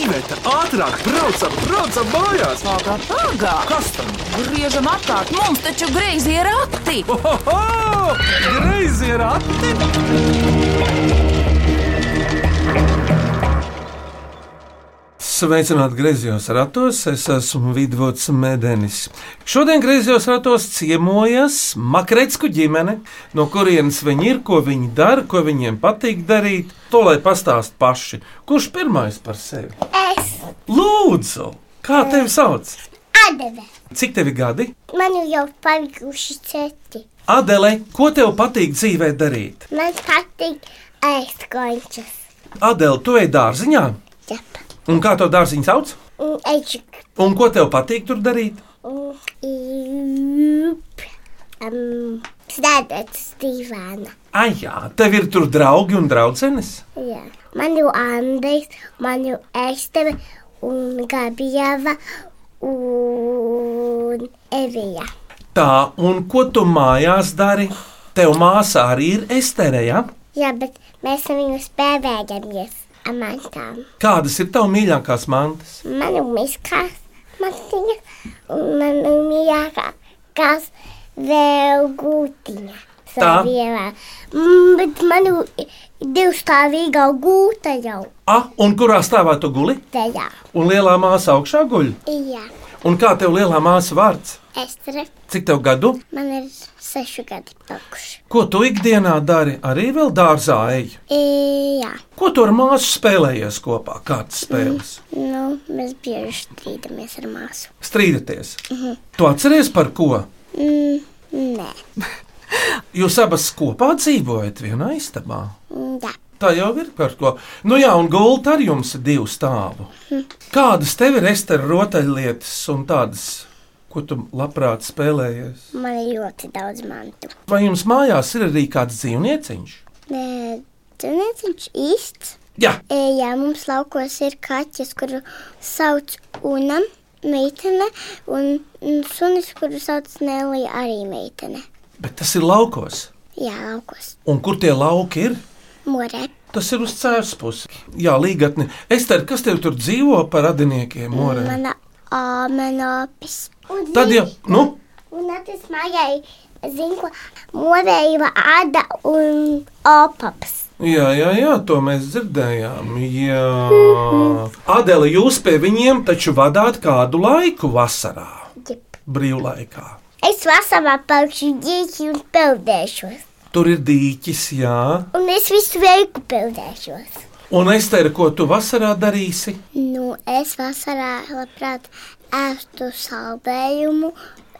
Iveta, ātrāk, braucam, braucam mājās! Ātrāk, ātrāk! Kas tam? Griežam atkārt, mums taču greizi ir rati! Ohoho! Greizi ir ati! Sveicināti griezos ratos, es esmu Vidvuds Medenis. Šodien griezos ratos ciemojas Makrēcku ģimene, no kurienes viņi ir, ko viņi dara, ko viņiem patīk darīt. To lai pastāst paši. Kurš pirmais par sevi? Es Lūdzu, kā tevi sauc? atdevu. Cik tevi gadi? Man jau palikuši citi. Adele, ko tev patīk dzīvē darīt? Man patīk ēst končus. Adele, tu ej dārziņā, Jep. un kā to dārziņu sauc? Un eģik. Un ko tev patīk tur darīt? Un mm, jūp. Um, Sēdēt uz divāna. Ai, jā, tev ir tur draugi un draudzenes. Jā. Man jau Andrejs, man jau Esteve un Gabriela un Evija. Tā, un ko tu mājās dari? Tev māsā arī ir esterē, ja? Jā, bet mēs ar viņu spēvējamies ar mantām. Kādas ir tavas mīļākās mantas? Man ir miskās matiņa, un man ir mīļākās vēl gūtiņa. Tā. savievā. Mm, Bet man ir divstāvīga gūta jau Ah, un kurā stāvā tu guli? tajā. Un lielā māsā augšā guļ. Jā, Un kā tev lielā māsa vārds? Estere, Cik tev gadu? man ir seši gadi pakši. Ko tu ikdienā dari? Arī vēl dārzā eji. Jā, Ko tu ar māsu spēlējies kopā? Kādas spēles? nu, mēs bieži strīdamies ar māsu. Strīdaties. Tu atceries par ko? Mm, nē, Jūs abas kopā dzīvojat vienā istabā. Mm, jā. Tā jau ir par ko. Nu jā, un gulta ar jums ir divu stāvu. Kādas tev ir estera rotaļlietas un tādas, ko tu labprāt spēlējies? man ir ļoti daudz mantu. Vai jums mājās ir arī kāds dzīvnieciņš? Nē, tu nezini īsti. Jā, E, Jā, mums laukos ir kaķis, kuru sauc Una, meitene, un mm, sunis, kuru sauc Nelija, arī meitene. bet tas ir laukos. Jā, laukos Un kur tie lauki ir? morē. Tas ir uz cēlus puses. Jā, līgatni. Ester, kas tev tur dzīvo par radiniekiem? Morē? Mana āmenopis. Tad jau, nu, Un atis mājai zinu, ko morējuma āda un opaps. jā, jā, jā, to mēs dzirdējām. Jā, Adela, jūs pie viņiem taču vadāt kādu laiku vasarā. Jep. brīvlaikā. Es vasarā paukšu ģīķi un peldēšos. Tur ir dīķis, jā. Un es visu veiku peldēšos. Un Estera, ko tu vasarā darīsi? Nu, es vasarā labprāt ēstu saldējumu,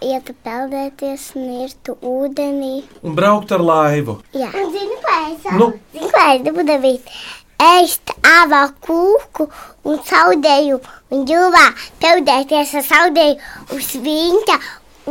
ietu peldēties, nirtu ūdenī. Un braukt ar laivu. Jā, zinu, ko es Nu? Zinu, ko es gribu darīt. Ēst avā kūku un saldēju un jūvā peldēties ar saldēju uz vinta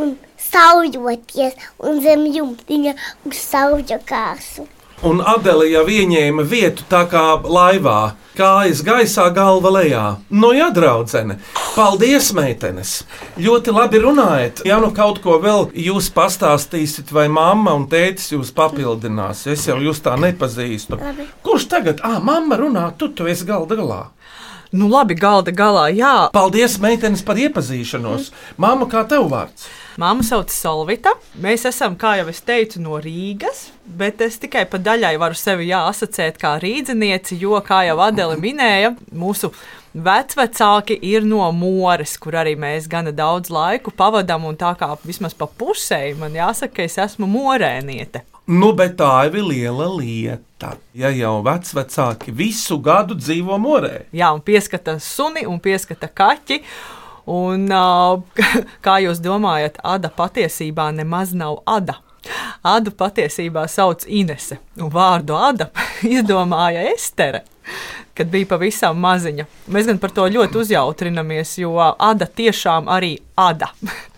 un sauļoties un zem jumtiņa uz sauļu kāsu. Un Adela jau ieņēma vietu tā kā laivā. Kājas gaisā, galva lejā. No jā, draudzene. Paldies, meitenes. Ļoti labi runājat. Ja nu kaut ko vēl jūs pastāstīsiet, vai mamma un tētis jūs papildinās, es jau jūs tā nepazīstu. Labi. Kurš tagad? Ah, mamma runā, tu, tu esi galda galā. Nu, labi, galda galā, jā. Paldies, meitenes, par iepazīšanos. Māma, kā tev vārds? Māma sauc Solvita. Mēs esam, kā jau es teicu, no Rīgas, bet es tikai pa daļai varu sevi jā, asociēt kā rīznieci, jo, kā jau Adele minēja, mūsu vecvecāki ir no Mores, kur arī mēs gana daudz laiku pavadām. un Tā kā vismaz pa pusē man jāsaka, ka es esmu morēniete. Nu, bet tā ir liela lieta. Ja jau vecāki visu gadu dzīvo morē, Jā, un pieskata suni un pieskata kaķi. Un, uh, kā jūs domājat, Ada patiesībā nemaz nav Ada. Adu patiesībā sauc Inese, un vārdu Ada izdomāja Estere, kad bija pavisam maziņa. Mēs gan par to ļoti uzjautrinamies, jo Ada tiešām arī Ada.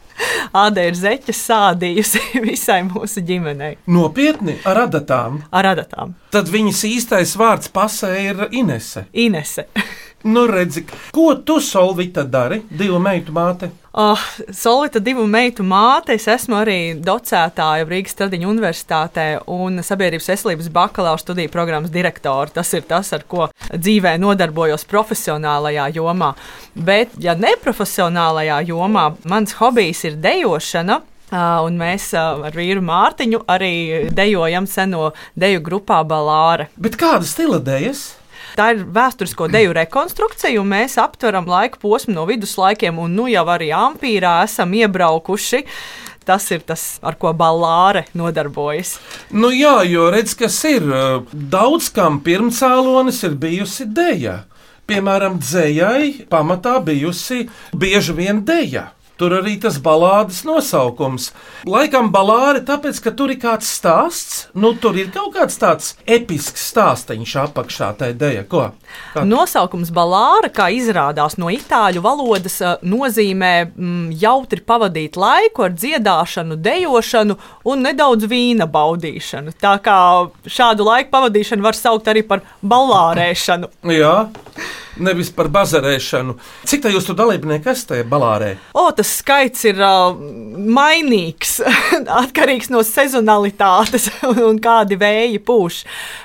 Ada ir zeķe sādījusi visai mūsu ģimenei nopietni ar adatām, ar adatām. tad viņas īstais vārds pasē ir Inese. Inese. Nu, redzi, ko tu, Solvita, dari? Divu meitu māte. Uh, Solita divu meitu māte, es esmu arī docētāja Rīgas Tradiņu Universitātē un Sabiedrības veselības bakalaura studiju programmas direktore. Tas ir tas, ar ko dzīvē nodarbojos profesionālajā jomā. Bet, ja neprofesionālajā jomā, mans hobijs ir dejošana. Uh, un mēs uh, ar vīru Mārtiņu arī dejojam seno deju grupā Balāra. Bet kāda stila dēļas? Tā ir vēsturisko deju rekonstrukcija, un mēs aptveram laika posmu no viduslaikiem, un nu jau arī Ampīrā esam iebraukuši. Tas ir tas, ar ko balāre nodarbojas. Nu, jā, jo redz, kas ir. uh, Daudz kam pirmcēlonis ir bijusi dēļa. Piemēram, dzējai pamatā bijusi bieži vien dēļa. Tur arī tas balādes nosaukums. Laikam balāri, tāpēc, ka tur ir kāds stāsts, nu tur ir kaut kāds tāds episks stāsteņš apakšā tai dēļa. Ko? Kā- Nosaukums balāra, kā izrādās no itāļu valodas, eh, nozīmē mm, jautri pavadīt laiku ar dziedāšanu, dejošanu un nedaudz vīna baudīšanu. Tā kā šādu laiku pavadīšanu var saukt arī par balārēšanu. Jā, nevis par bazarēšanu. Cik tā jūs tur dalībnieki esat tajā balārē? O, tas skaits ir uh, mainīgs, atkarīgs no sezonalitātes un kādi vēji pūš.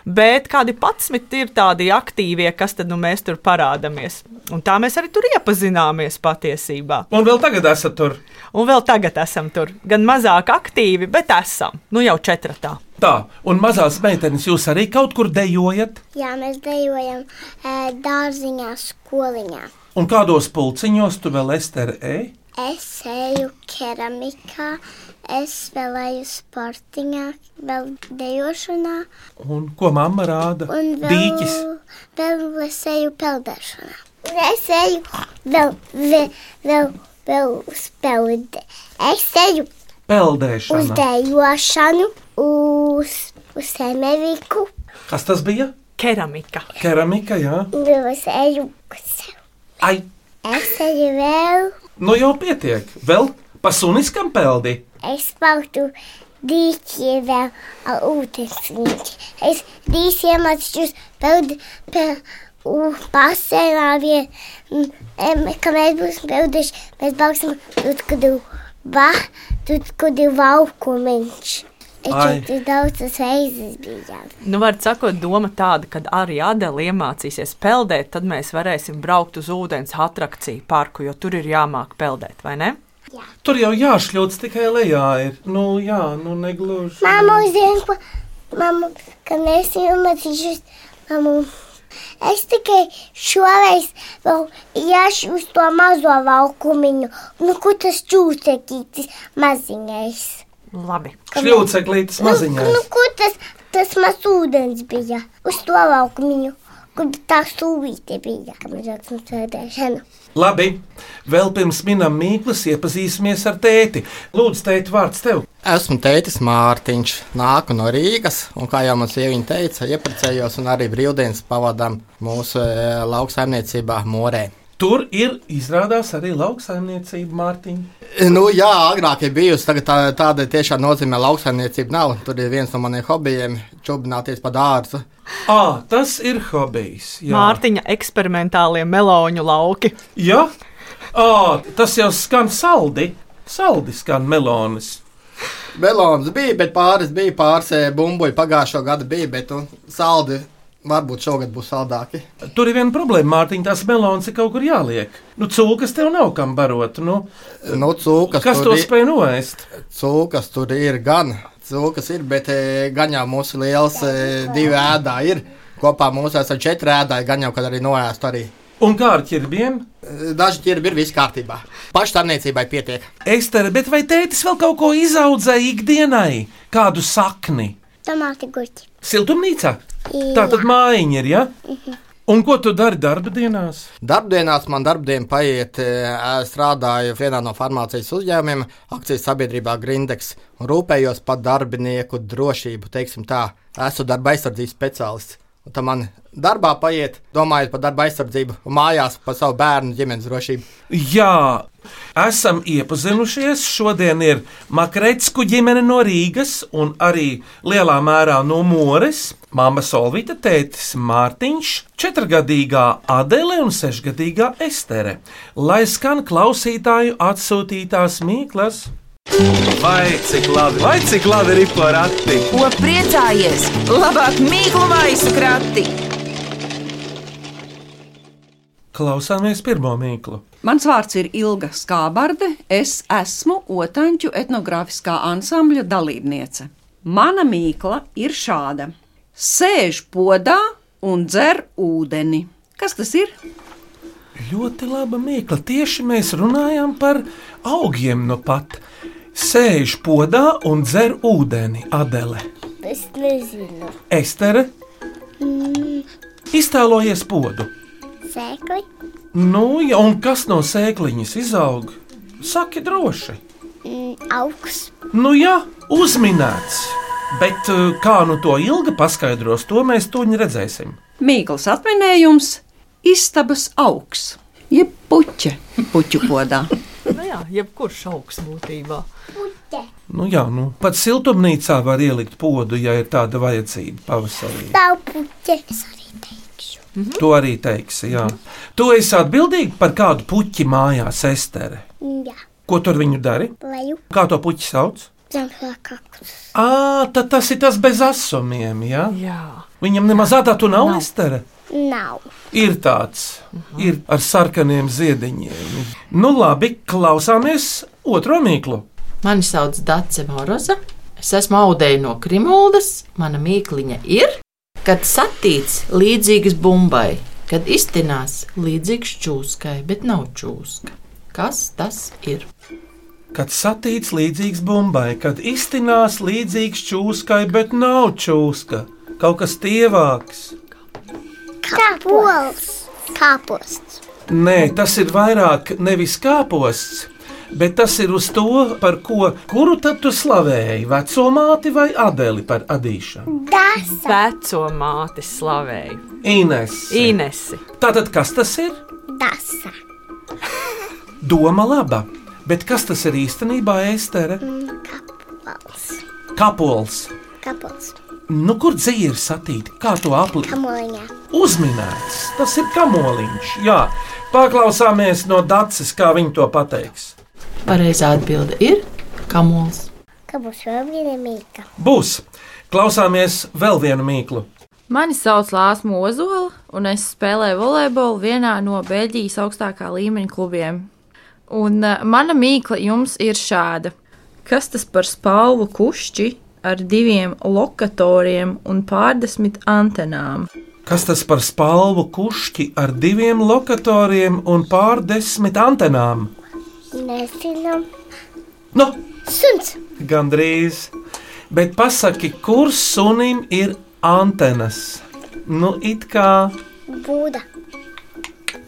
Bet kādi patsmit ir tādi aktīvie, kas tad nu, mēs tur parādāmies. Un tā mēs arī tur iepazināmies patiesībā. Un vēl tagad esat tur. Un vēl tagad esam tur. Gan mazāk aktīvi, bet esam. Nu jau četratā. Tā, un mazās meitenes jūs arī kaut kur dejojat? Jā, mēs dejojam e, dārziņā, skoliņā. Un kādos pulciņos tu vēl esterē? Es eju keramikā, es vēl eju sportiņā, vēl dejošanā Un ko mamma rāda? un vēl, Dīķis. vēl es eju peldēšanā. Un es eju vēl, vēl, vēl, vēl uz peldi. Es eju uz Peldēšana. dejošanu, uz, uz emeviku, Kas tas bija? Keramika. Keramika, jā. un vēl es eju uz sevi. Ai, Es eju vēl. nu jau pietiek. Vēl pa suniskam peldi. Es spēlēju dīķi vēl ar ūdensnīti. Es dīķiem atšķiros peld, peld, pasēnā vien, m, em, ka mēs būsim pelduši, mēs brauksim tur, kur ir va, tur, kur ir laukumiņš. Es Ai. jau tur daudzas reizes biju. Nu, var teikt, doma tāda, ka arī Adela iemācīsies peldēt, tad mēs varēsim braukt uz ūdens attrakciju parku, jo tur ir jāmāk peldēt, vai ne? Tur jau jāšļūts tikai lejā ir. Nu jā, nu negluži. Mamma uzzina, ko mamma, ka mēs iemācīšos. Mamma, es tikai šoreiz vēl iešu uz to mazo laukumiņu, nu, kur tas čūsekītis maziņais. Labi. Šļūceklītis Nu, nu, maziņās. kur tas, tas mazs ūdens bija? Uz to laukumiņu, kur tā sūvīte bija, kam ir atsūtīta sēdēšana. Labi, vēl pirms minam mīklas iepazīsimies ar tēti. Lūdzu, tēti, vārds tev. Esmu tētis Mārtiņš, nāku no Rīgas, un kā jau man sieviete teica, iepriecējos un arī brīvdienas pavadām mūsu e, lauksaimniecībā Morē. Tur ir izrādās arī lauksaimniecība, Mārtiņa. Nu, jā, agrāk ir bijusi tagad tā, tāda tiešā nozīmē lauksaimniecība. Nav. Tur ir viens no maniem hobijiem - čubināties pa dārzu. Ā, tas ir hobijs. Jā. Mārtiņa eksperimentālie meloņu lauki. Ja? Ā, tas jau skan saldi. Saldi skan melonis. Melons bija, bet pāris bija pāris e, bumbuļi pagājušo gadu bija, bet nu, saldi varbūt šogad būs saldāki. Tur ir viena problēma, Mārtiņ, tās melons ir kaut kur jāliek. Nu, cūkas tev nav kam barot. Nu, Nu, cūkas, kas tur to ir- spēj noēst? Cūkas tur ir gan, cūkas ir, bet e, gan jau mūsu liels e, divi ēdā ir. Kopā mums ir četri ēdāji, gan jau kad arī noēst. Arī. Un kā ar ķirbiem? E, Daži ķirbi ir viss kārtībā. Pašstāvniecībai pietiek. Ekstere, bet vai tētis vēl kaut ko izaudzēja ikdienai? Kādu sakni? Tomāti guļķi. Siltumnīcā? Jā. Tā tad mājiņa ir, ja? Un ko tu dari darba dienās? Darbdienās man darbdiena paiet, e, strādāju vienā no farmācijas uzņēmumiem, akcijas sabiedrībā Grindeks, un rūpējos par darbinieku drošību. teiksim Tā. Esmu darba aizsardzības speciālists. Un tad man darbā paiet, domājot par darba aizsardzību, un mājās par savu bērnu ģimenes drošību. Jā, esam iepazinušies. Šodien ir Makrētsku ģimene no Rīgas un arī lielā mērā no Mores. Māma Solvīta, tētis Mārtiņš, četrgadīgā Adele un sešgadīgā Estere. Lai skan klausītāju atsūtītās mīklas. Vai cik labi, vai cik labi ir pa rati? Ko priecājies? Labāk mīklu maisu krati. Klausāmies pirmo mīklu. Mans vārds ir Ilga Skābarde. Es esmu Otāņu etnogrāfiskā ansambļa dalībniece. Mana mīkla ir šāda: sēž podā un dzer ūdeni. Kas tas ir? Ļoti laba mīkla. Tieši mēs runājam par augiem nu pat. Sēž podā un dzer ūdeni, Adele. Es nezinu. Estere, iztēlojies podu. Mm, Sēkli, Nu, ja, un kas no sēkliņas izaug? Saki droši. mm, augs, Nu, jā, uzminēts. Bet eh, kā nu to ilgi paskaidros, to mēs toņi redzēsim. Mīkls atminējums - istabas augs, jeb puķe puķu podā. Nu jā, jebkurš augsts būtībā. Nu, jā, nu, pat siltumnīcā var ielikt podu, ja ir tāda vajadzība pavasarī. taupuķe. Es arī teikšu. To arī teiksi, jā. Tu esi atbildīgi par kādu puķi mājās, Estere. Mm, Jā, Ko tur viņu dari? leju, Kā to puķi sauc? zemlā kaktus. Ā, tad tas ir tas bez asumiem, jā? Jā, Viņam nemaz tādā tu nav, nav. Estere. Nav. Ir tāds, ir ar sarkaniem ziediņiem. Nu, labi, klausāmies otro mīklu. Mani sauc Dace Moroza. Es esmu audēja no Krimuldas. Mana mīkliņa ir, kad satīts līdzīgas bumbai, kad iztinās līdzīgs čūskai, bet nav čūska. Kas tas ir? Kad satīts līdzīgs bumbai, kad iztinās līdzīgs čūskai, bet nav čūska. Kaut kas tievāks. Kāpols, kāposts. Nē, tas ir vairāk nevis kāposts, bet tas ir uz to, par ko, kuru tad tu slavēji, veco māti vai adeli par adīšanu. Tas veco māti slavēju. Ines. Inesi. Tātad kas tas ir? dasa. Doma laba, bet kas tas ir īstenībā, Estere? Kāpols, Kapols. kāpols, Nu, kur dzīve ir satīta? Kā to aplikt? kamoliņā. Uzminēts, tas ir kamoliņš. Jā, paklausāmies no Dācis, kā viņi to pateiks. Pareizā atbilde ir kamols. Kā būs vēl viena mīkla? Būs. Klausāmies vēl vienu mīklu. Mani sauc Lārs Mozola, un es spēlēju volejbolu vienā no Beļģijas augstākā līmeņa klubiem. Un uh, mana mīkla jums ir šāda. Kas tas par spalvu kušķi ar diviem lokatoriem un pārdesmit antenām? Kas tas par spalvu kušķi ar diviem lokatoriem un pārdesmit antenām? Nezinu. Nu, Suns, gandrīz. Bet pasaki, kur sunim ir antenas? Nu, it kā būda.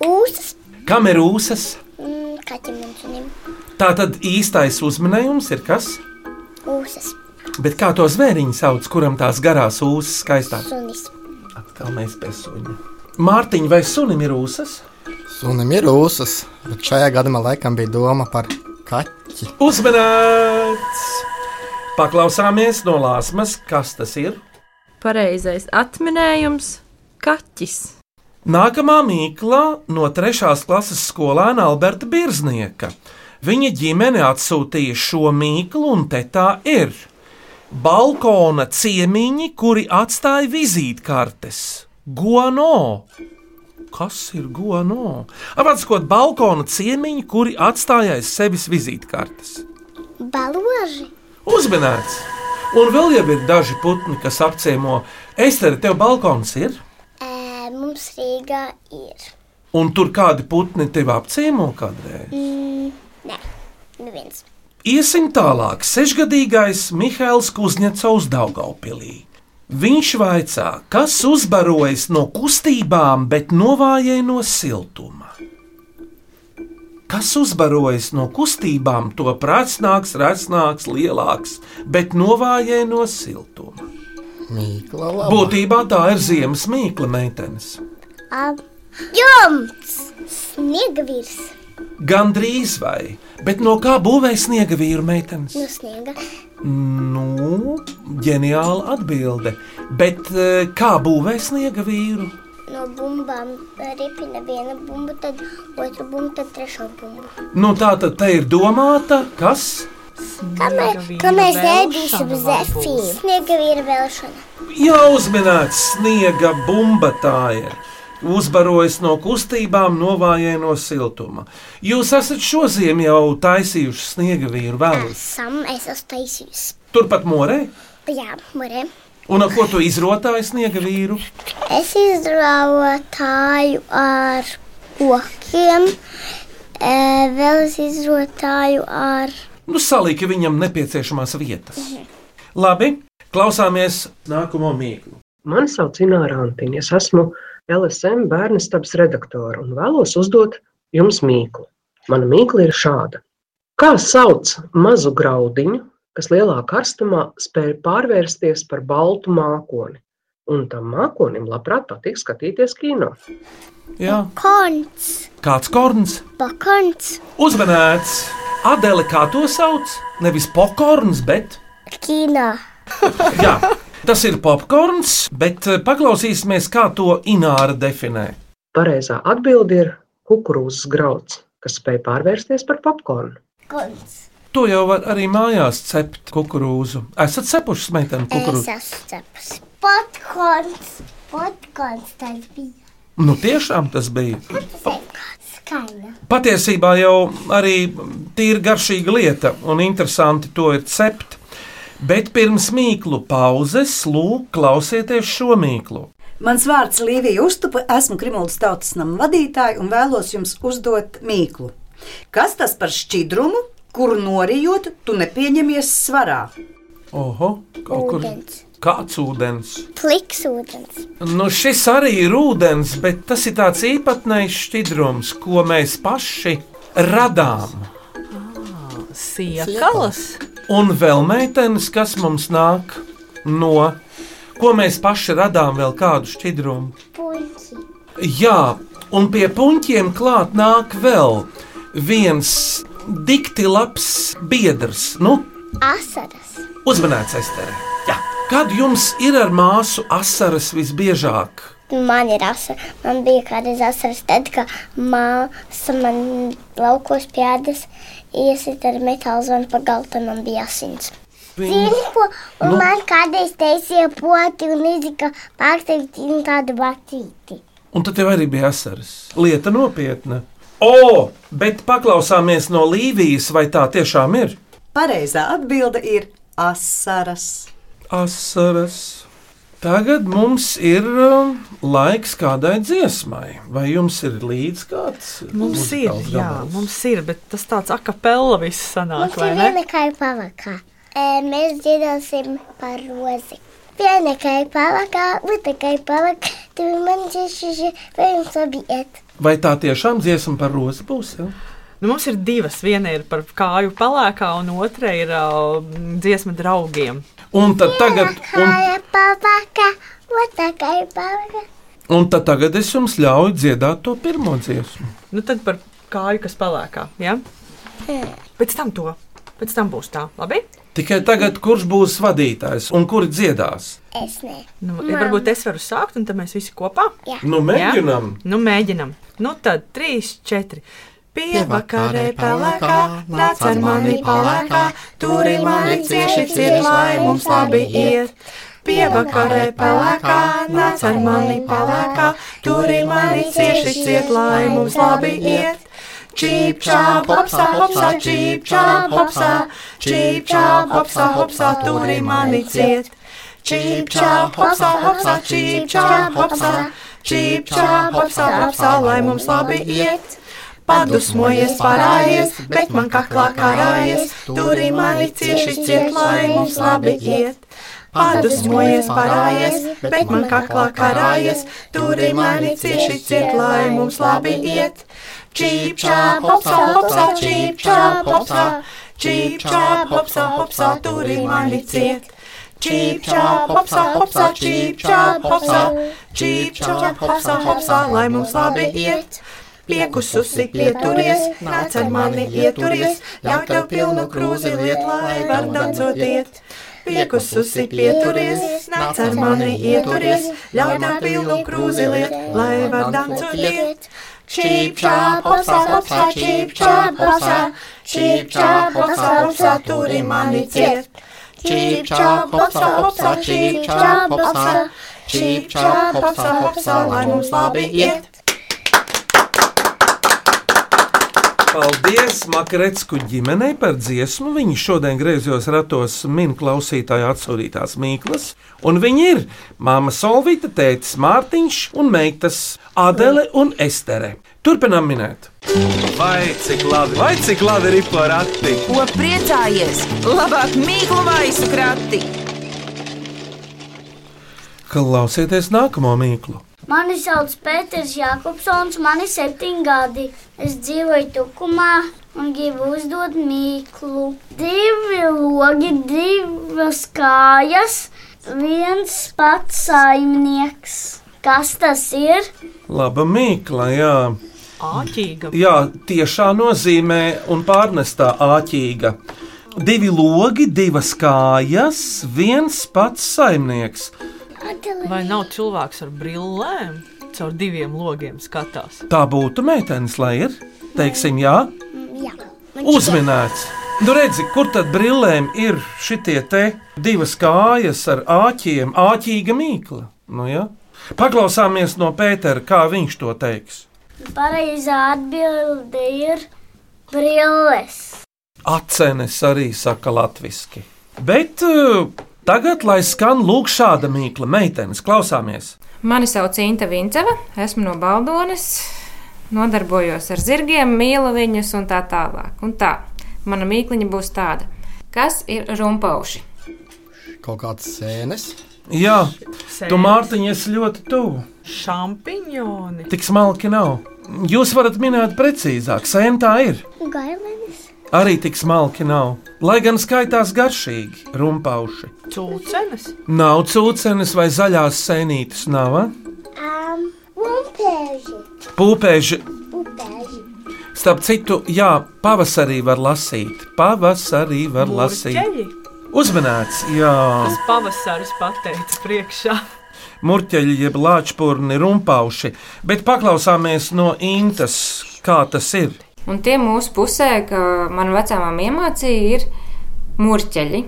Ūsas, kam ir ūsas? mm, kaķim un sunim. Tā tad īstais uzmanējums ir kas? Ūsas, Bet kā to zvēriņu sauc, kuram tās garās ūsas skaistākas? sunis. Atkal mēs pie suņa. Mārtiņa vai sunim ir ūsas? Sunim ir ūsas, bet šajā gadījumā laikam bija doma par kaķi. Uzmanīts! Paklausāmies no lāsmas, kas tas ir. Pareizais atminējums - kaķis. Nākamā mīkla no trešās klases skolēna Alberta Birznieka. Viņa ģimene atsūtīja šo mīklu, un te tā ir. Balkona ciemiņi, kuri atstāja vizītkartes. Guano! Kas ir guano? Apskot, balkona ciemiņi, kuri atstāja aiz sevis vizītkartes. Baloži, Uzmanīts! Un vēl jau ir daži putni, kas apciemo. Ester, tev balkons ir? e, mums Rīgā ir. Un tur kādi putni tevi apciemo kādreiz. Nē, neviens. Iesim tālāk. Sešgadīgais Mihails Kuzņecovs Daugaupilī. Viņš vaicā, kas uzbarojas no kustībām, bet novājē no siltuma. Kas uzbarojas no kustībām, to prasnāks, rasnāks, lielāks, bet novājē no siltuma. Mīkla laba. Būtībā tā ir ziemas mīkla meitenes. Ab, jumts, sniegavīrs Gan drīz vai, bet no kā būvēja sniega vīru meitenes? no sniega. Nu, ģeniāla atbilde. Bet eh, kā būvēja sniega vīru? No bumbām ripina viena bumba, tad otra bumba, tad trešā bumba. Nu, tā tad te ir domāta, kas? Kamēr, kamēr sēdīsim zefīnu, sniegavīra vēlšana. Jau uzminēts sniega bumba tā ir. Uzbarojas no kustībām, novājēja no siltuma. Jūs esat šo ziemu jau taisījuši sniega vīru vēlus. Esam, es uztaisījus. Turpat morē, Jā, morē. un ar ko tu izrotāji sniega vīru? Es izrautāju ar okiem, e, vēl es izrautāju ar Nu, salika viņam nepieciešamās vietas. Labi, klausāmies nākamo mīklu. Mani sauc Ināra Antīna. Es esmu LSM bērnu stāvs redaktore un vēlos uzdot jums mīklu. Mana mīkla ir šāda. Kā sauc mazu graudiņu, kas lielā karstumā spēj pārvērsties par baltu mākoni? Un tam mākonim labprāt patīk skatīties kino. Jā, konts, kāds korns? pakons, Uzmanēts! Adele, kā to sauc? Nevis popkorns, bet kino. jā, tas ir popkorns, bet eh, paklausīsimies, kā to Ināra definē. Pareizā atbilde ir kukurūzas grauds, kas spēj pārvērsties par popkornu. Konts, To jau var arī mājās cept kukurūzu. Esat cepuši meiteni es kukurūzu? esmu cepas. Potkons, potkons, tas bija Nu, tiešām tas bija. skaļa. Patiesībā jau arī tīri garšīga lieta un interesanti to ir cept. Bet pirms mīklu pauzes, lūk, klausieties šo mīklu. Mans vārds ir Līvija Uztupa, esmu Krimuldas tautas nama vadītāja un vēlos jums uzdot mīklu. Kas tas par šķidrumu, kur norijot, tu nepieņemies svarā? Oho, kaut kur Ūdens. kāds ūdens. Pliks ūdens. Nu, šis arī ir ūdens, bet tas ir tāds īpatnējs šķidrums, ko mēs paši radām. Siekalas, Un vēl meitenes, kas mums nāk no, ko mēs paši radām, vēl kādu šķidrumu. Puņķi. Jā, un pie puņķiem klāt nāk vēl viens dikti labs biedrs. Nu, Asaras. uzmanēts Esterē. Jā. Kad jums ir ar māsu asaras visbiežāk? Man ir asaras. Man bija kādreiz asaras, tad, kad māsa man laukos pēdas iesit ar metāla zvanu pa galdu, tad man bija asins. Zini, ko un Nu- man kādreiz taisīja poti un izlika pārsteigti un tādu batīti. Un tad tev arī bija asaras. Lieta nopietna. O, bet paklausāmies no Līvijas, vai tā tiešām ir? Pareizā atbilde ir asaras. Asaras. Tagad mums ir um, laiks kādai dziesmai. Vai jums ir līdz kāds? mums ir, muzikāls jā, gabals? mums ir, bet tas tāds akapella viss sanāk, Mums vai ir ne? viena kāja pavakā. E, mēs dziedāsim par rozi. Viena kāja pavakā, otra kāja pavakā, tur man tieši šī, vai jums labi iet. Vai tā tiešām dziesma par rozi būs? Ja? Nu, mums ir divas, viena ir par kāju palēkā, un otra ir uh, dziesma draugiem. Un tad tagad, un, Kāja pavakā, otra kāja pavakā. un tad tagad es jums ļauju dziedāt to pirmo dziesmu. Nu, tad par kāju, kas palēkā, ja? Hm. Pēc tam to, pēc tam būs tā, labi? Tikai tagad, kurš būs vadītājs un kuri dziedās? Es ne. Nu, varbūt es varu sākt, un tad mēs visi kopā. Nu, mēģinām! Nu, mēģinam. Nu, tad trīs, četri. Pievakarē Pievakarē pelēkā, pelēkā, nāc ar mani palēkā, turi mani cieši ciet, lai mums labi iet. Pievakarē pelēkā, nāc ar mani palēkā, turi mani cieši ciet, lai mums labi iet. Čīpčā, popsā, popsā, čīpčā, popsā, čīpčā, popsā, popsā, turi mani ciet. Čīpčā, popsā, popsā, čīpčā, popsā, čīpčā, popsā, popsā, lai mums labi iet. Padusmojies, parājies, bet man kaklā karājies, turi mani cieši ciet, lai mums labi iet. Padusmojies, parājies, bet man kaklā karājies, turi mani cieši ciet, lai mums labi iet. Čīpčā, popsā, popsā, čīpčā, popsā, čīpčā, popsā, popsā, turi mani ciet. Cheep chā, popsā, popsā, cheep chā, popsā, cheep chā, popsā, popsā, lai mums labi iet. Piekususi, pieturies, nāc ar mani, ieturies, ļauj tev pilnu krūzi liet, lai var dancot iet. Piekususi, pieturies, nāc ar mani, ieturies, ļauj tev pilnu krūzi liet, lai var dancot iet. Cheep chā, popsā, popsā, cheep chā, popsā, cheep chā, popsā, popsā, turi mani ciet. Cheep chop, popsā, popsā, cheep chop, popsā, cheep chop, popsā, popsā, lai mums labi iet. Paldies Makrēcku ģimenei par dziesmu. Viņi šodien griezos ratos min klausītāju atsūtītās mīklas. Un viņi ir māma Solvīta, tētis Mārtiņš un meitas Adele un Estere. Turpinām minēt. Vai cik labi, vai cik labi ir porati? Ko priecājies? Labāk mīklu maisu krati! Klausieties nākamo mīklu. Mani sauc Pēters Jākopsons, man ir septiņi gadi. Es dzīvoju Tukumā un gribu uzdot mīklu. Divi logi, divas kājas, viens pats saimnieks. Kas tas ir? Laba mīkla, jā. Āķīga. Jā, tiešā nozīmē un pārnestā āķīga. Divi logi, divas kājas, viens pats saimnieks. Vai nav cilvēks ar brillēm? Caur diviem logiem skatās. Tā būtu meitenes, lai ir. Teiksim, jā, Jā. uzminēts. Nu, redzi, kur tad brillēm ir šitie te divas kājas ar āķiem, āķīga mīkla? Nu, jā. Paklausāmies no Pētera, kā viņš to teiks. Pareizā atbilde ir brilles. Acenes arī saka latviešu. Bet uh, tagad, lai skan lūk šāda mīkla, meitenes, klausāmies. Mani sauc Inta Vinceva, esmu no Baldonas, nodarbojos ar zirgiem, mīlu viņus un tā tālāk. Un tā, mana mīkliņa būs tāda. Kas ir rumpauši? Kaut kāds sēnes. Jā, Sēnes. tu Mārtiņ, esi ļoti tuvu. Šampiņoni. Tik smalki nav. Jūs varat minēt precīzāk, sēna tā ir. Gailenis. Arī tik smalki nav. Lai gan skaitās garšīgi, rumpauši. Cūcenes. Nav cūcenes vai zaļās sēnītes, nav. A? Um, Lumpēži. Pūpēži, Upēži. starp citu, jā, pavasarī var lasīt. Pavasarī var lasīt. Burķeļi. Uzmanīts, jā. Tas pavasaris pateica priekšā. Mūķeļi, jeb lāčpūrni, rumpauši, bet paklausāmies no Intas, kā tas ir. Un tie mūsu pusē, ka man vecām iemācīja, ir mūrķeļi,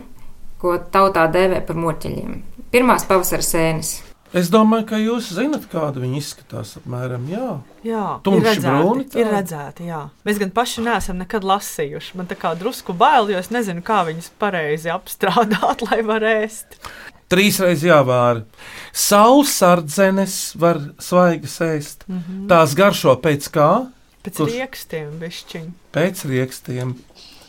ko tautā dēvē par mūrķeļiem. Pirmās pavasara sēnes. Es domāju, ka jūs zinat, kāda viņa izskatās apmēram. Jā, Jā, ir Tumši redzēti, brūni tā? Ir redzēti, jā. Mēs gan paši neesam nekad lasījuši. Man tā kā drusku bail, jo es nezinu, kā viņus pareizi apstrādāt, lai varētu ēst. trīsreiz jāvāra. Saulsardzenes var svaigas ēst. Mm -hmm. Mhm. Tās garšo pēc kā? Pēc Kurš? rīkstiem višķiņi. Pēc rīkstiem.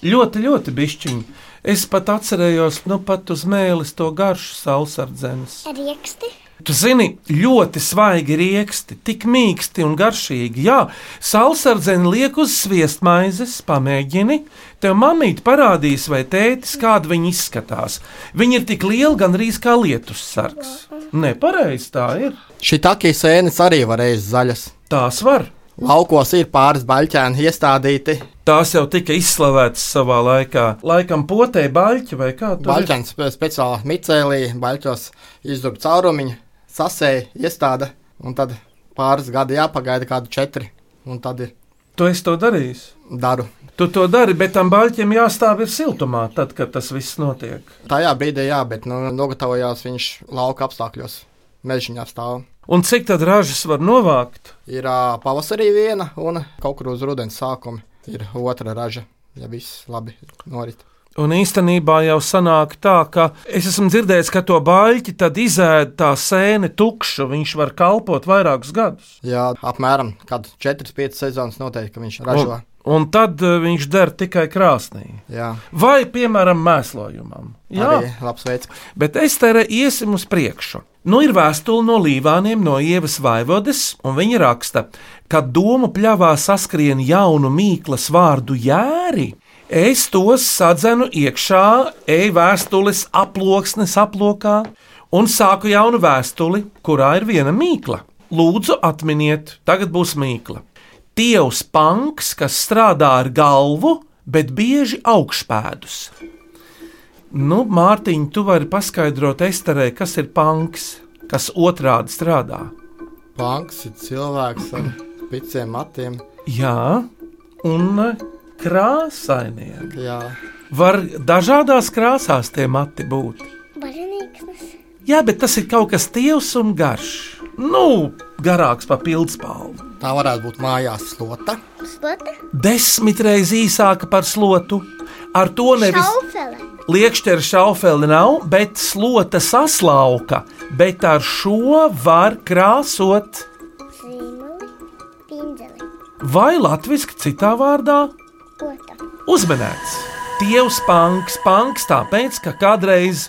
Ļoti, ļoti bišķiņi. Es pat atcerējos, nu pat uz mēlis to garšu saulsardzenes. Rieksti. Tu zini, ļoti svaigi rieksti, tik mīksti un garšīgi. Jā, sālsardzeni liek uz sviestmaizes, pamēģini. Tev mamīte parādīs, vai tētis, kāda viņi izskatās. Viņi ir tik lieli, gandrīz kā lietus sargs. Nepareizi tā ir. Šī takija sēnes arī varēja zaļas. Tās var. Laukos ir pāris baļķēni iestādīti. Tās jau tika izslavētas savā laikā. Laikam potē baļķi vai kā tur ir? Baļķēns spe- speciāli micēlī, baļķos izdurb caurumiņu, sasēja, iestāda, un tad pāris gadi jāpagaida kādu četri, un tad ir Tu esi to darījis? daru. Tu to dari, bet tam baļķim jāstāv ir siltumā, tad, kad tas viss notiek. Tajā brīdī jā, bet nu, nogatavojās viņš lauka apstākļos, mežģīņā stāv. Un cik tad ražas var novākt? Ir ā, pavasarī viena, un kaut kur uz rudens sākuma ir otra raža, ja viss labi norit. Un īstenībā jau sanāk tā, ka es esmu dzirdējis, ka to baļķi tad izēda tā sēne tukšu. Viņš var kalpot vairākus gadus. Jā, apmēram kādu 4-5 sezonas noteikti, ka viņš ražo. Un, un tad eh, viņš der tikai krāsnī. Jā, Vai, piemēram, mēslojumam. Jā, arī labs veids. bet es teru iesim uz priekšu. Nu, ir vēstule no Līvāniem, no Ievas Vaivodes, un viņa raksta, ka domu pļāvā saskrien jaunu mīklas vārdu jēri. Es tos sadzenu iekšā, eju vēstules aploksnes aplokā un sāku jaunu vēstuli, kurā ir viena mīkla. Lūdzu, atminiet, tagad būs mīkla. Dievs panks, kas strādā ar galvu, bet bieži augšpēdus. Nu, Mārtiņ, tu vari paskaidrot Esterē, kas ir panks, kas otrādi strādā. Panks ir cilvēks ar piciem matiem. Jā, un krāsainiem. Jā, Var dažādās krāsās tie mati būt. Bažanīgs. Jā, bet tas ir kaut kas tievs un garš. Nu, garāks par pildspalvu. tā varētu būt mājās slota. Slota. Desmitreiz īsāka par slotu. Ar to nevis Šaufele. liekšķera šaufeli nav, bet slota saslauka. Bet ar šo var krāsot Zīmoli. Pindzeli. vai latviešu citā vārdā Kota. uzmanēts. Dievs panks, panks, tāpēc, ka kādreiz,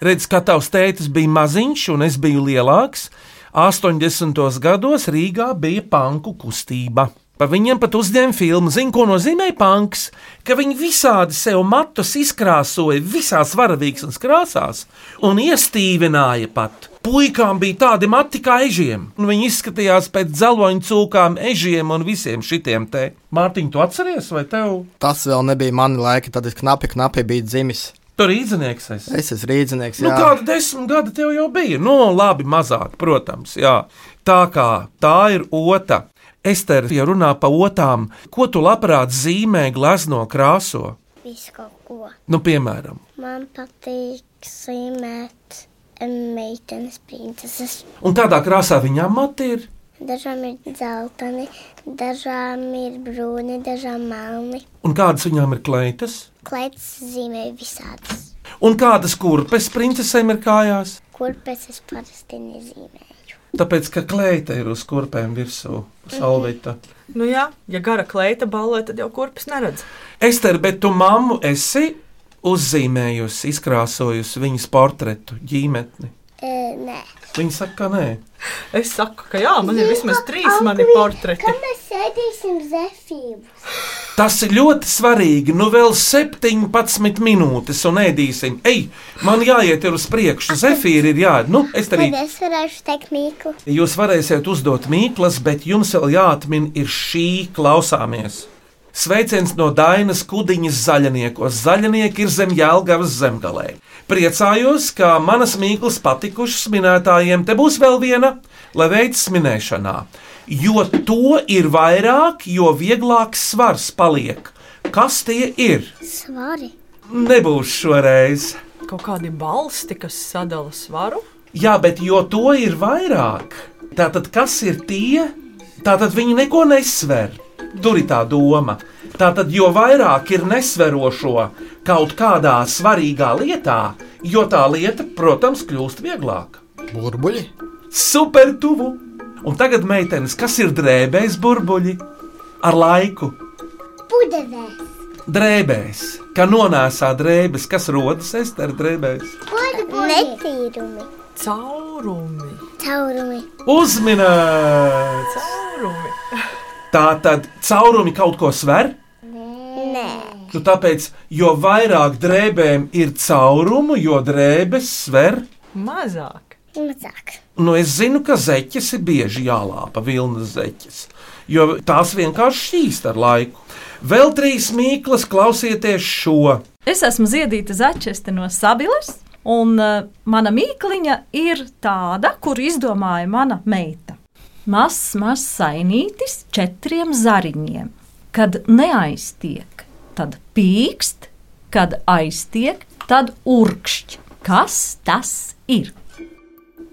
redz, kad tavs tētis bija maziņš un es biju lielāks, 80. gados Rīgā bija panku kustība. Pa viņiem pat uzņēma filmu. Zini, ko nozīmē panks? Ka viņi visādi sev matus izkrāsoja visās varavīksnes krāsās un iestīvināja pat. Puikām bija tādi mati kā ežiem, un viņi izskatījās pēc dzeloņa cūkām, ežiem un visiem šitiem te. Mārtiņ, tu atceries, vai tev Tas vēl nebija mani laiki, tad es knapi, knapi biju dzimis. Tu rīznieks esi. Es esmu rīznieks. Nu, kāda desmit gadi tev jau bija? Nu, labi, mazāk, protams. Jā. Tā kā tā ir otra. Ester, ja runā par otām, ko tu labprāt zīmē glazno krāso? Visu kaut ko. Nu, piemēram, Man patīk zīmēt meitenes princeses. un kādā krāsā viņām mati ir? Dažām ir zeltaini, dažām ir brūni, dažām melni. Un kādas viņām ir kleitas? Klaids zīmē visādas. Un kādas kurpes princesēm ir kājās? Kurpes es parasti nezīmēju. Tāpēc, ka kleita ir uz kurpēm virsū, salvīta. Nu jā, ja gara kleita ballē, tad jau kurpes neredz. Ester, bet tu mammu esi uzzīmējusi, izkrāsojusi viņas portretu, ģimetni. E, nē, Viņa saka, ka nē. Es saku, ka jā, man ir vismaz trīs mani portreti. Kā mēs sēdīsim zefību? Tas ir ļoti svarīgi. Nu, vēl 17 minūtes, un ēdīsim. Ej, man jāiet ir uz priekšu, zefīri ir jāiet. Nu, es arī. Tad es varēšu teikt mīklu. Jūs varēsiet uzdot mīklas, bet jums vēl jāatmin ir šī klausāmies. Sveiciens no Dainas Kudiņas zaļniekos. Zaļnieki ir zem Jēlgavas zemgalē. Priecājos, ka manas mīklas patikušas minētājiem. Te būs vēl viena, lai veicas minēšanā. Jo to ir vairāk, jo vieglāk svars paliek. Kas tie ir? Svari. Nebūs šoreiz. Kaut kādi balsti, kas sadala svaru. Jā, bet jo to ir vairāk, tātad kas ir tie, tātad viņi neko nesver. Tur ir tā doma. Tātad, jo vairāk ir nesverošo kaut kādā svarīgā lietā, jo tā lieta, protams, kļūst vieglāka. Burbuļi? Super tuvu! Un tagad, meitenes, kas ir drēbēs burbuļi? Ar laiku Pudevē. drēbēs, kā nonāsā drēbes, kas rodas Ester drēbēs. Netīrumi. Caurumi. Caurumi. Uzminēts! Caurumi. Tā tad caurumi kaut ko sver. Nē. Nu, tāpēc, jo vairāk drēbēm ir caurumu, jo drēbes sver. Mazāk. Mazāk. Nu, es zinu, ka zeķes ir bieži jālāpa, vilnas zeķes, jo tās vienkārši šķīst ar laiku. Vēl trīs mīklas, klausieties šo. Es esmu Ziedīta Zafčeste no Sabilas, un uh, mana mīkliņa ir tāda, kur izdomāja mana meita. Mazs, mazs sainītis, četriem zariņiem. Kad neaiztiek, tad pīkst, kad aiztiek, tad urkšķ. Kas tas ir?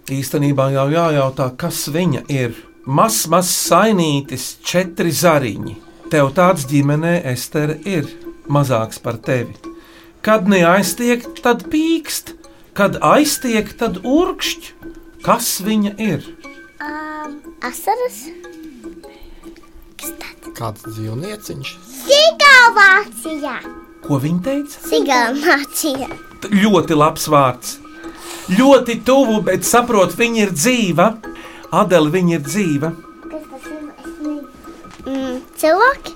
Īstenībā jau jājautā, kas viņa ir. Mazs, mazs sainītis, četri zariņi. Tev tāds ģimenē, Ester, ir mazāks par tevi. Kad neaiztiek, tad pīkst, kad aiztiek, tad urkšķ. Kas viņa ir? Um, asaras. Kāds dzīvnieciņš? Sigālācijā. Ko viņa teica? Sigālācijā. T- Ļoti labs vārds. Ļoti tuvu, bet saprot, viņa ir dzīva. Adela, viņa ir dzīva. Kas tas ir? Es nezinu. Mm, cilvēki?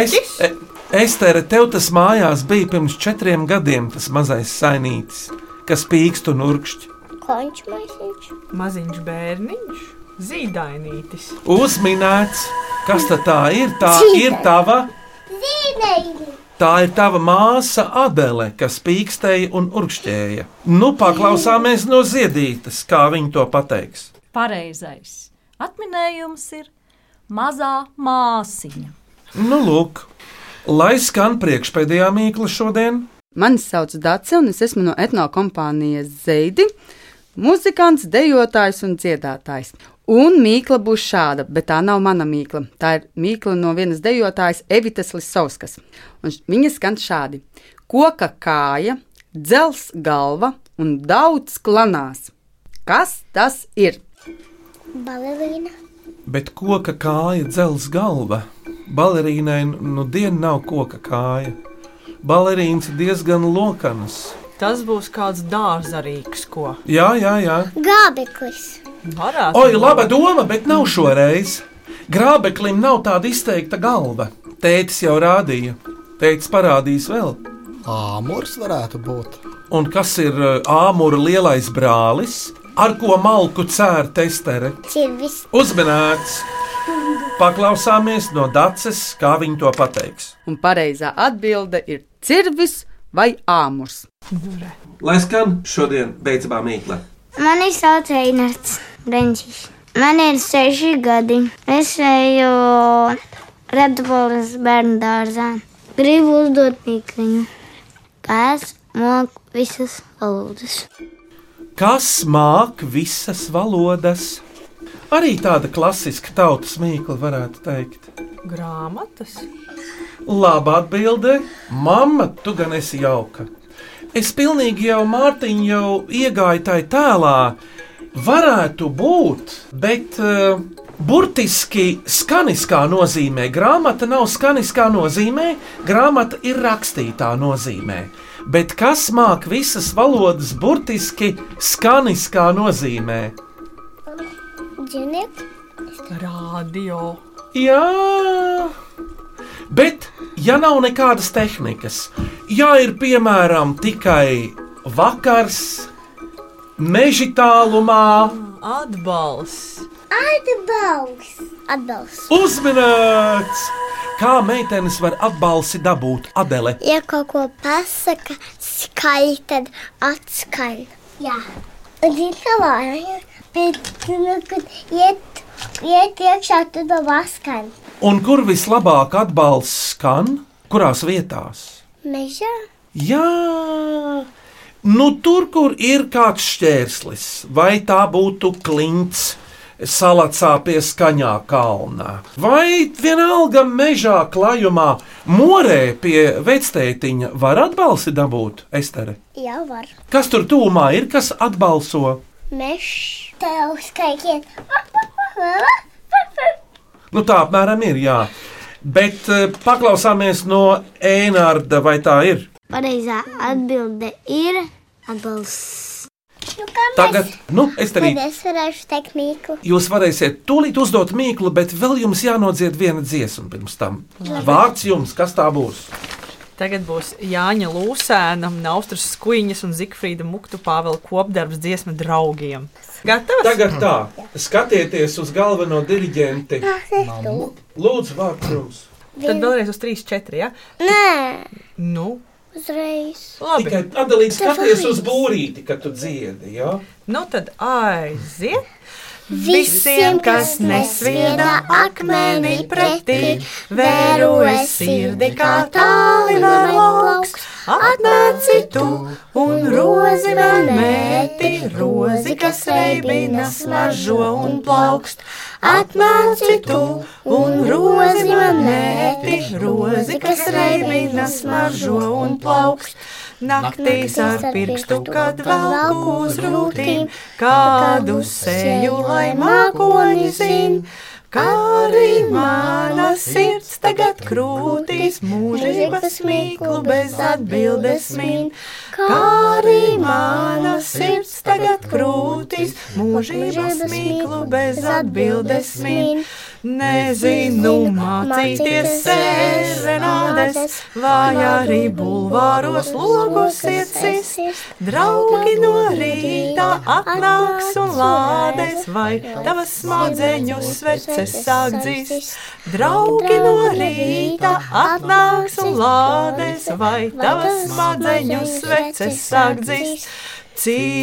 Es, e- Estere, tev tas mājās bija pirms četriem gadiem, tas mazais sainītis, kas pīkst un urkšķ. Konč maisiņš. Maziņš bērniņš, zīdainītis. Uzminēts, kas tad tā ir? Tā ir tava, Zīmeļi. tā ir tava māsa Adele, kas pīkstēja un urkšķēja. Nu, paklausāmies no ziedītes, kā viņa to pateiks. Pareizais atminējums ir mazā māsiņa. Nu, lūk, lai skan priekšpēdējā mīkla šodien, Mani sauc Dārsa, un es esmu no etnokompānijas Zeidi. Muzikants, dejotājs un dziedātājs. Un mīkla būs šāda, bet tā nav mana mīkla. Tā ir mīkla no vienas dejotājas, Evitas Lisauskas. Un š- viņa skan šādi: koka kāja, dzels galva un daudz klanās. Kas tas ir? Balerīna. bet koka kāja dzels galva. Balerīnai nu diena nav koka kāja. Balerīns ir diezgan lokanas. Tas būs kāds dārzarīgs, ko Jā, jā, jā. Gābeklis. varētu. Oi, laba doma, bet nav šoreiz. Grābeklim nav tāda izteikta galva. Tētis jau rādīja. Tētis parādīs vēl. Āmurs varētu būt. Un kas ir uh, āmura lielais brālis, ar ko malku cēra testere? Cirvis. Uzmanīts! Paklausāmies no daces, kā viņi to pateiks. Un pareizā atbilde ir cirvis vai āmurs. Lai skan šodien beidzamā mīkla. Mani sauc Einards Benčis. Man ir seši gadi. Es eju Redbolas bērnu dārzā. Gribu uzdot mīkliņu. Kas mok visas valodas? Kas māca visas valodas? Arī tāda klasiska tautas mīkla, varētu teikt. Grāmatas. Labā atbildē, mamma, tu gan esi jauka. Es pilnīgi jau Mārtiņu jau iegāju tajā tēlā. Varētu būt, bet uh, burtiski skaniskā nozīmē. Grāmata nav skaniskā nozīmē, grāmata ir rakstītā nozīmē. Bet kas māca visas valodas burtiski skaniskā nozīmē? Džuniet. Radio. Jā, bet ja nav nekādas tehnikas, ja ir piemēram tikai vakars, meža tālumā, Atbalsts. Atbalsts. Atbalsts. uzmanīts, kā meitenes var atbalsi dabūt Adele. Ja kaut ko pasaka skaļi, tad atskaļ. Jā, un zini, kā vāja. Bet, nu, kad iet, iet iekšā, tad vēl atskaļ. Un kur vislabāk atbalsts skan? Kurās vietās? Mežā? Jā, nu tur, kur ir kāds šķērslis, vai tā būtu klints. Salacā pie skaņā kalnā, vai vienalga mežā klājumā, morē pie vectētiņa var atbalsi dabūt, Estere? Jā, var. Kas tur tūmā ir, kas atbalso? Mežs. Tev skaiķiet. Nu, tā apmēram ir, jā. Bet eh, paklausāmies no Ēnārda, vai tā ir? Pareizā atbilde ir atbalsts. Nu, kā mēs- Tagad, nu, Esterī, Tad es varēšu teikt mīklu. Jūs varēsiet tūlīt uzdot mīklu, bet vēl jums jānodzied viena dziesma pirms tam. Labi. Vārds jums, kas tā būs? Tagad būs Jāņa Lūsēna, Naustras Skuiņas un Zikfrīda Muktu Pāvela kopdarbs dziesma draugiem. Gatavs? Tagad tā, skatieties uz galveno diriģenti. Ah, Lūdzu, vārds jums. Tad vēlreiz uz 3, 4. Ja? Nē, Nu, uzreiz. labi. Tikai atdalīt skaties uz būrīti, kad tu dziedi. Ja? Nu, tad aiziet. Visiem, kas nesvieda akmeni pretī, vēroja sirdi kā tālinā lauks. Atnāci tu un rozi vēl mēti, rozi, kas reibina smaržo un plaukst. Atnāci tu un rozi vēl mēti, rozi, kas reibina smaržo un plaukst. Naktīs ar pirkstu, kad valku uz rūtīm, kādu seju, lai mākoņi zin. Kā arī mana sirds tagad krūtīs, mūžības mīklu bez atbildes min. Kā arī mana sirds tagad krūtīs, mūžības mīklu bez atbildes min. Nezinu mācīties serenādes, vai arī bulvāros logos iecīs. Draugi no rīta atnāks un lādēs, vai tavas smadzeņu sverces sāk dzīs. Draugi no rīta atnāks un lādēs, vai tavas smadzeņu sveces sāk dzīs.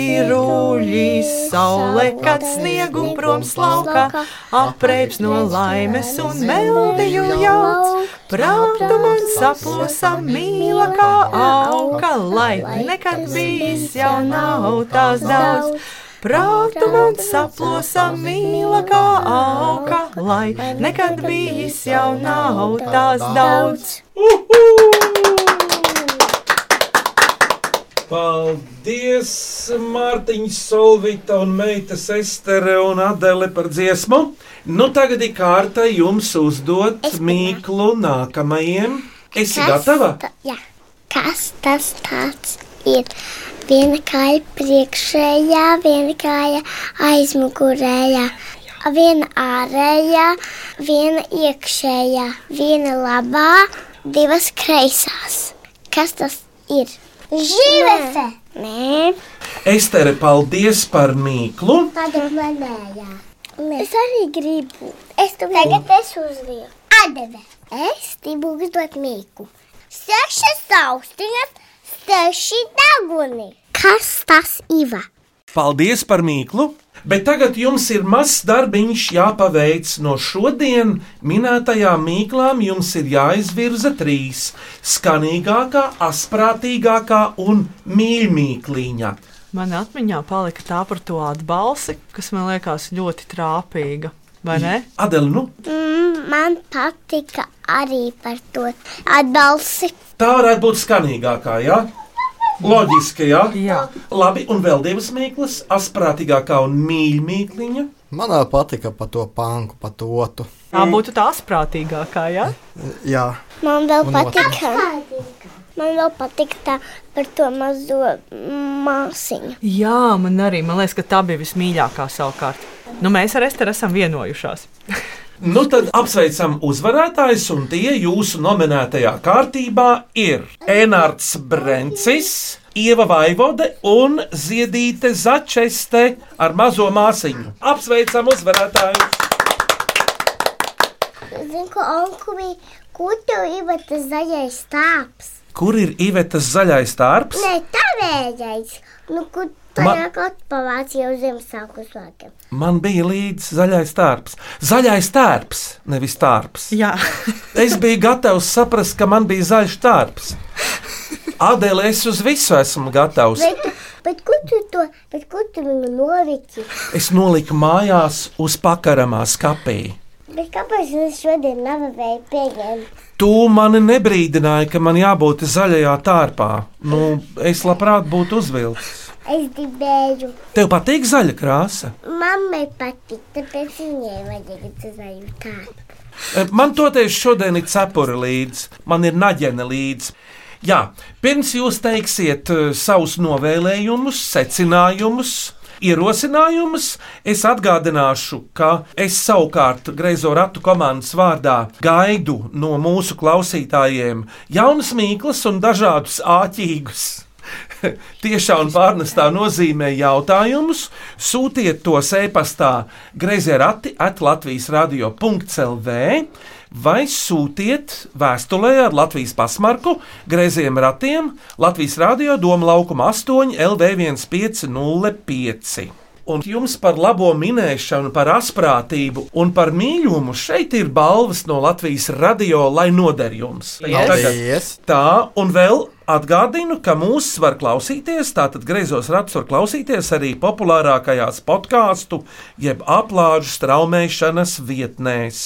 Cīruļi saule, kad sniegu prom slauka, apreips no laimes un meldiju jauc. Prātu man saplosa mīla kā auga, lai nekad bijis jau nav tās daudz. Prātu man saplosa mīla kā auga, lai nekad bijis jau nav tās daudz. Paldies, Mārtiņš, Solvita un Meita Estere un Adele par dziesmu. Nu, tagad ir kārta jums uzdot mīklu nākamajiem. Esi Kas gatava? ta- jā. Kas tas tāds ir? Viena kāja priekšējā, viena kāja aizmugurējā, viena ārējā, viena iekšējā, viena labā, divas kreisās. Kas tas ir? Žīvese! Nē, Estere, paldies par mīklu. tagad manējā. Es arī gribu. Es tev tagad es uzlieku. Adeve. Es gribu uzdot mīku. Sešas austiņas, seši daguni. Kas tas ir? Paldies par mīklu! Bet tagad jums ir mazs darbiņš jāpaveic. No šodien minētajām mīklām jums ir jāizvirza trīs - skanīgākā, asprātīgākā un mīļākā. Manā atmiņā palika tā par to atbalsi, kas man liekas ļoti trāpīga. Vai ne? Adela, nu, Mm, man patika arī par to atbalsi. tā varētu būt skanīgākā, jā? Loģiski, jā? jā. Labi, un vēl divas mīklas - asprātīgākā un mīļākā. Man vēl patika par to panku, par to tu. Tā būtu tā saprātīgākā, ja? Jā, Man vēl Un patika. Man vēl patika tā par to mazo māsiņu. Jā, man arī man liekas, ka tā bija vismīļākā savukārt. Nu, mēs ar Esteru esam vienojušās. Nu, tad apsveicam uzvarētājus, un tie jūsu nominētajā kārtībā ir Enārds Brencis, Ieva Vaivode un Ziedīte Začeste ar mazo māsiņu. Apsveicam uzvarētājus! Zinu, ka onku bija kukurūza, tas zaļais stāps. Kur ir Ivetas zaļais tārps? Nē, tā vējais. Nu, kur tā Ma- nāk atpavāts jau Ziemassvētku svētkiem. Man bija līdzi zaļais tārps. Zaļais tārps, nevis tārps. Jā. es biju gatavs saprast, ka man bija zaļš tārps. Adēlē, es uz visu esmu gatavs. Bet, bet kur tu to, bet kur tu viņu novici? Es noliku mājās uz pakaramā skapī. Bet kāpēc es šodien nevēju pieņemt? Tu mani nebrīdināji, ka man jābūt zaļajā tārpā. Nu, es labprāt būtu uzvilcis. Es gribēju. Tev patīk zaļa krāsa. Mammai patīk, tāpēc viņai vajag dzirdēt tā. E, Man toties šodien ir cepura līdzi, man ir naģene līdzi. Jā, pirms jūs teiksiet e, savus novēlējumus, secinājumus. Ierosinājumus es atgādināšu, ka es savukārt Greizo ratu komandas vārdā gaidu no mūsu klausītājiem jaunas mīklas un dažādus āķīgus tiešā un pārnestā nozīmē jautājumus, sūtiet tos e-pastā grezerati atlatvijas radio.clv vai sūtiet vēstulē ar Latvijas pasmarku greziem ratiem Latvijas radio Doma laukuma 8 LV1505. Un jums par labo minēšanu, par asprātību un par mīlumu šeit ir balvas no Latvijas radio, lai noder jums. Yes. Tagad- Tā, un vēl atgādinu, ka mūs var klausīties, tātad griezos ratus var klausīties arī populārākajās podkāstu jeb aplāžu straumēšanas vietnēs.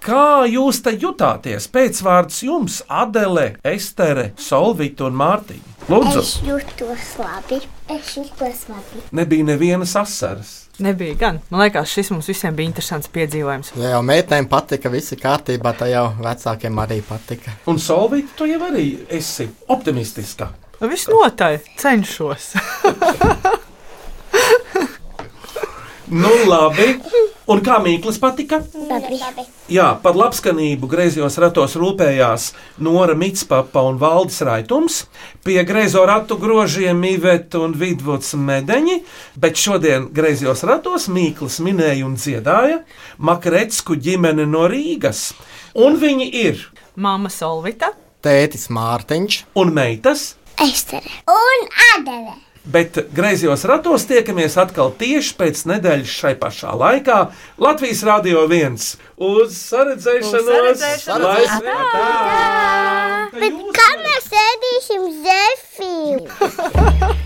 Kā jūs te jutāties? Pēcvārds jums, Adele, Estere, Solvita un Mārtiņa. Lūdzu, Es jūtos labi. Es jūtos labi. nebija nevienas asaras. Nebija gan. Man liekas, šis mums visiem bija interesants piedzīvojums. ja jau meitenēm patika, visi kārtībā, tad jau vecākiem arī patika. Un Solvita, tu jau arī esi optimistiska. Visnotaļ cenšos. Nu, labi. Un kā Mīklis patika? Labi. Jā, par labskanību griezos ratos rūpējās Nora Mitspapa un Valdis Raitums, pie griezo ratu grožiem Ivet un Vidvuds Medeņi, bet šodien griezos ratos Mīklis minēja un dziedāja Makretsku ģimene no Rīgas. Un viņi ir Māma Solvita Tētis Mārtiņš un meitas, Estere un Adele. bet griezos ratos tiekamies atkal tieši pēc nedēļas šai pašā laikā Latvijas Rādio 1 uz saredzēšanos! Lai svētā! Bet kā mēs ēdīsim zefīnu?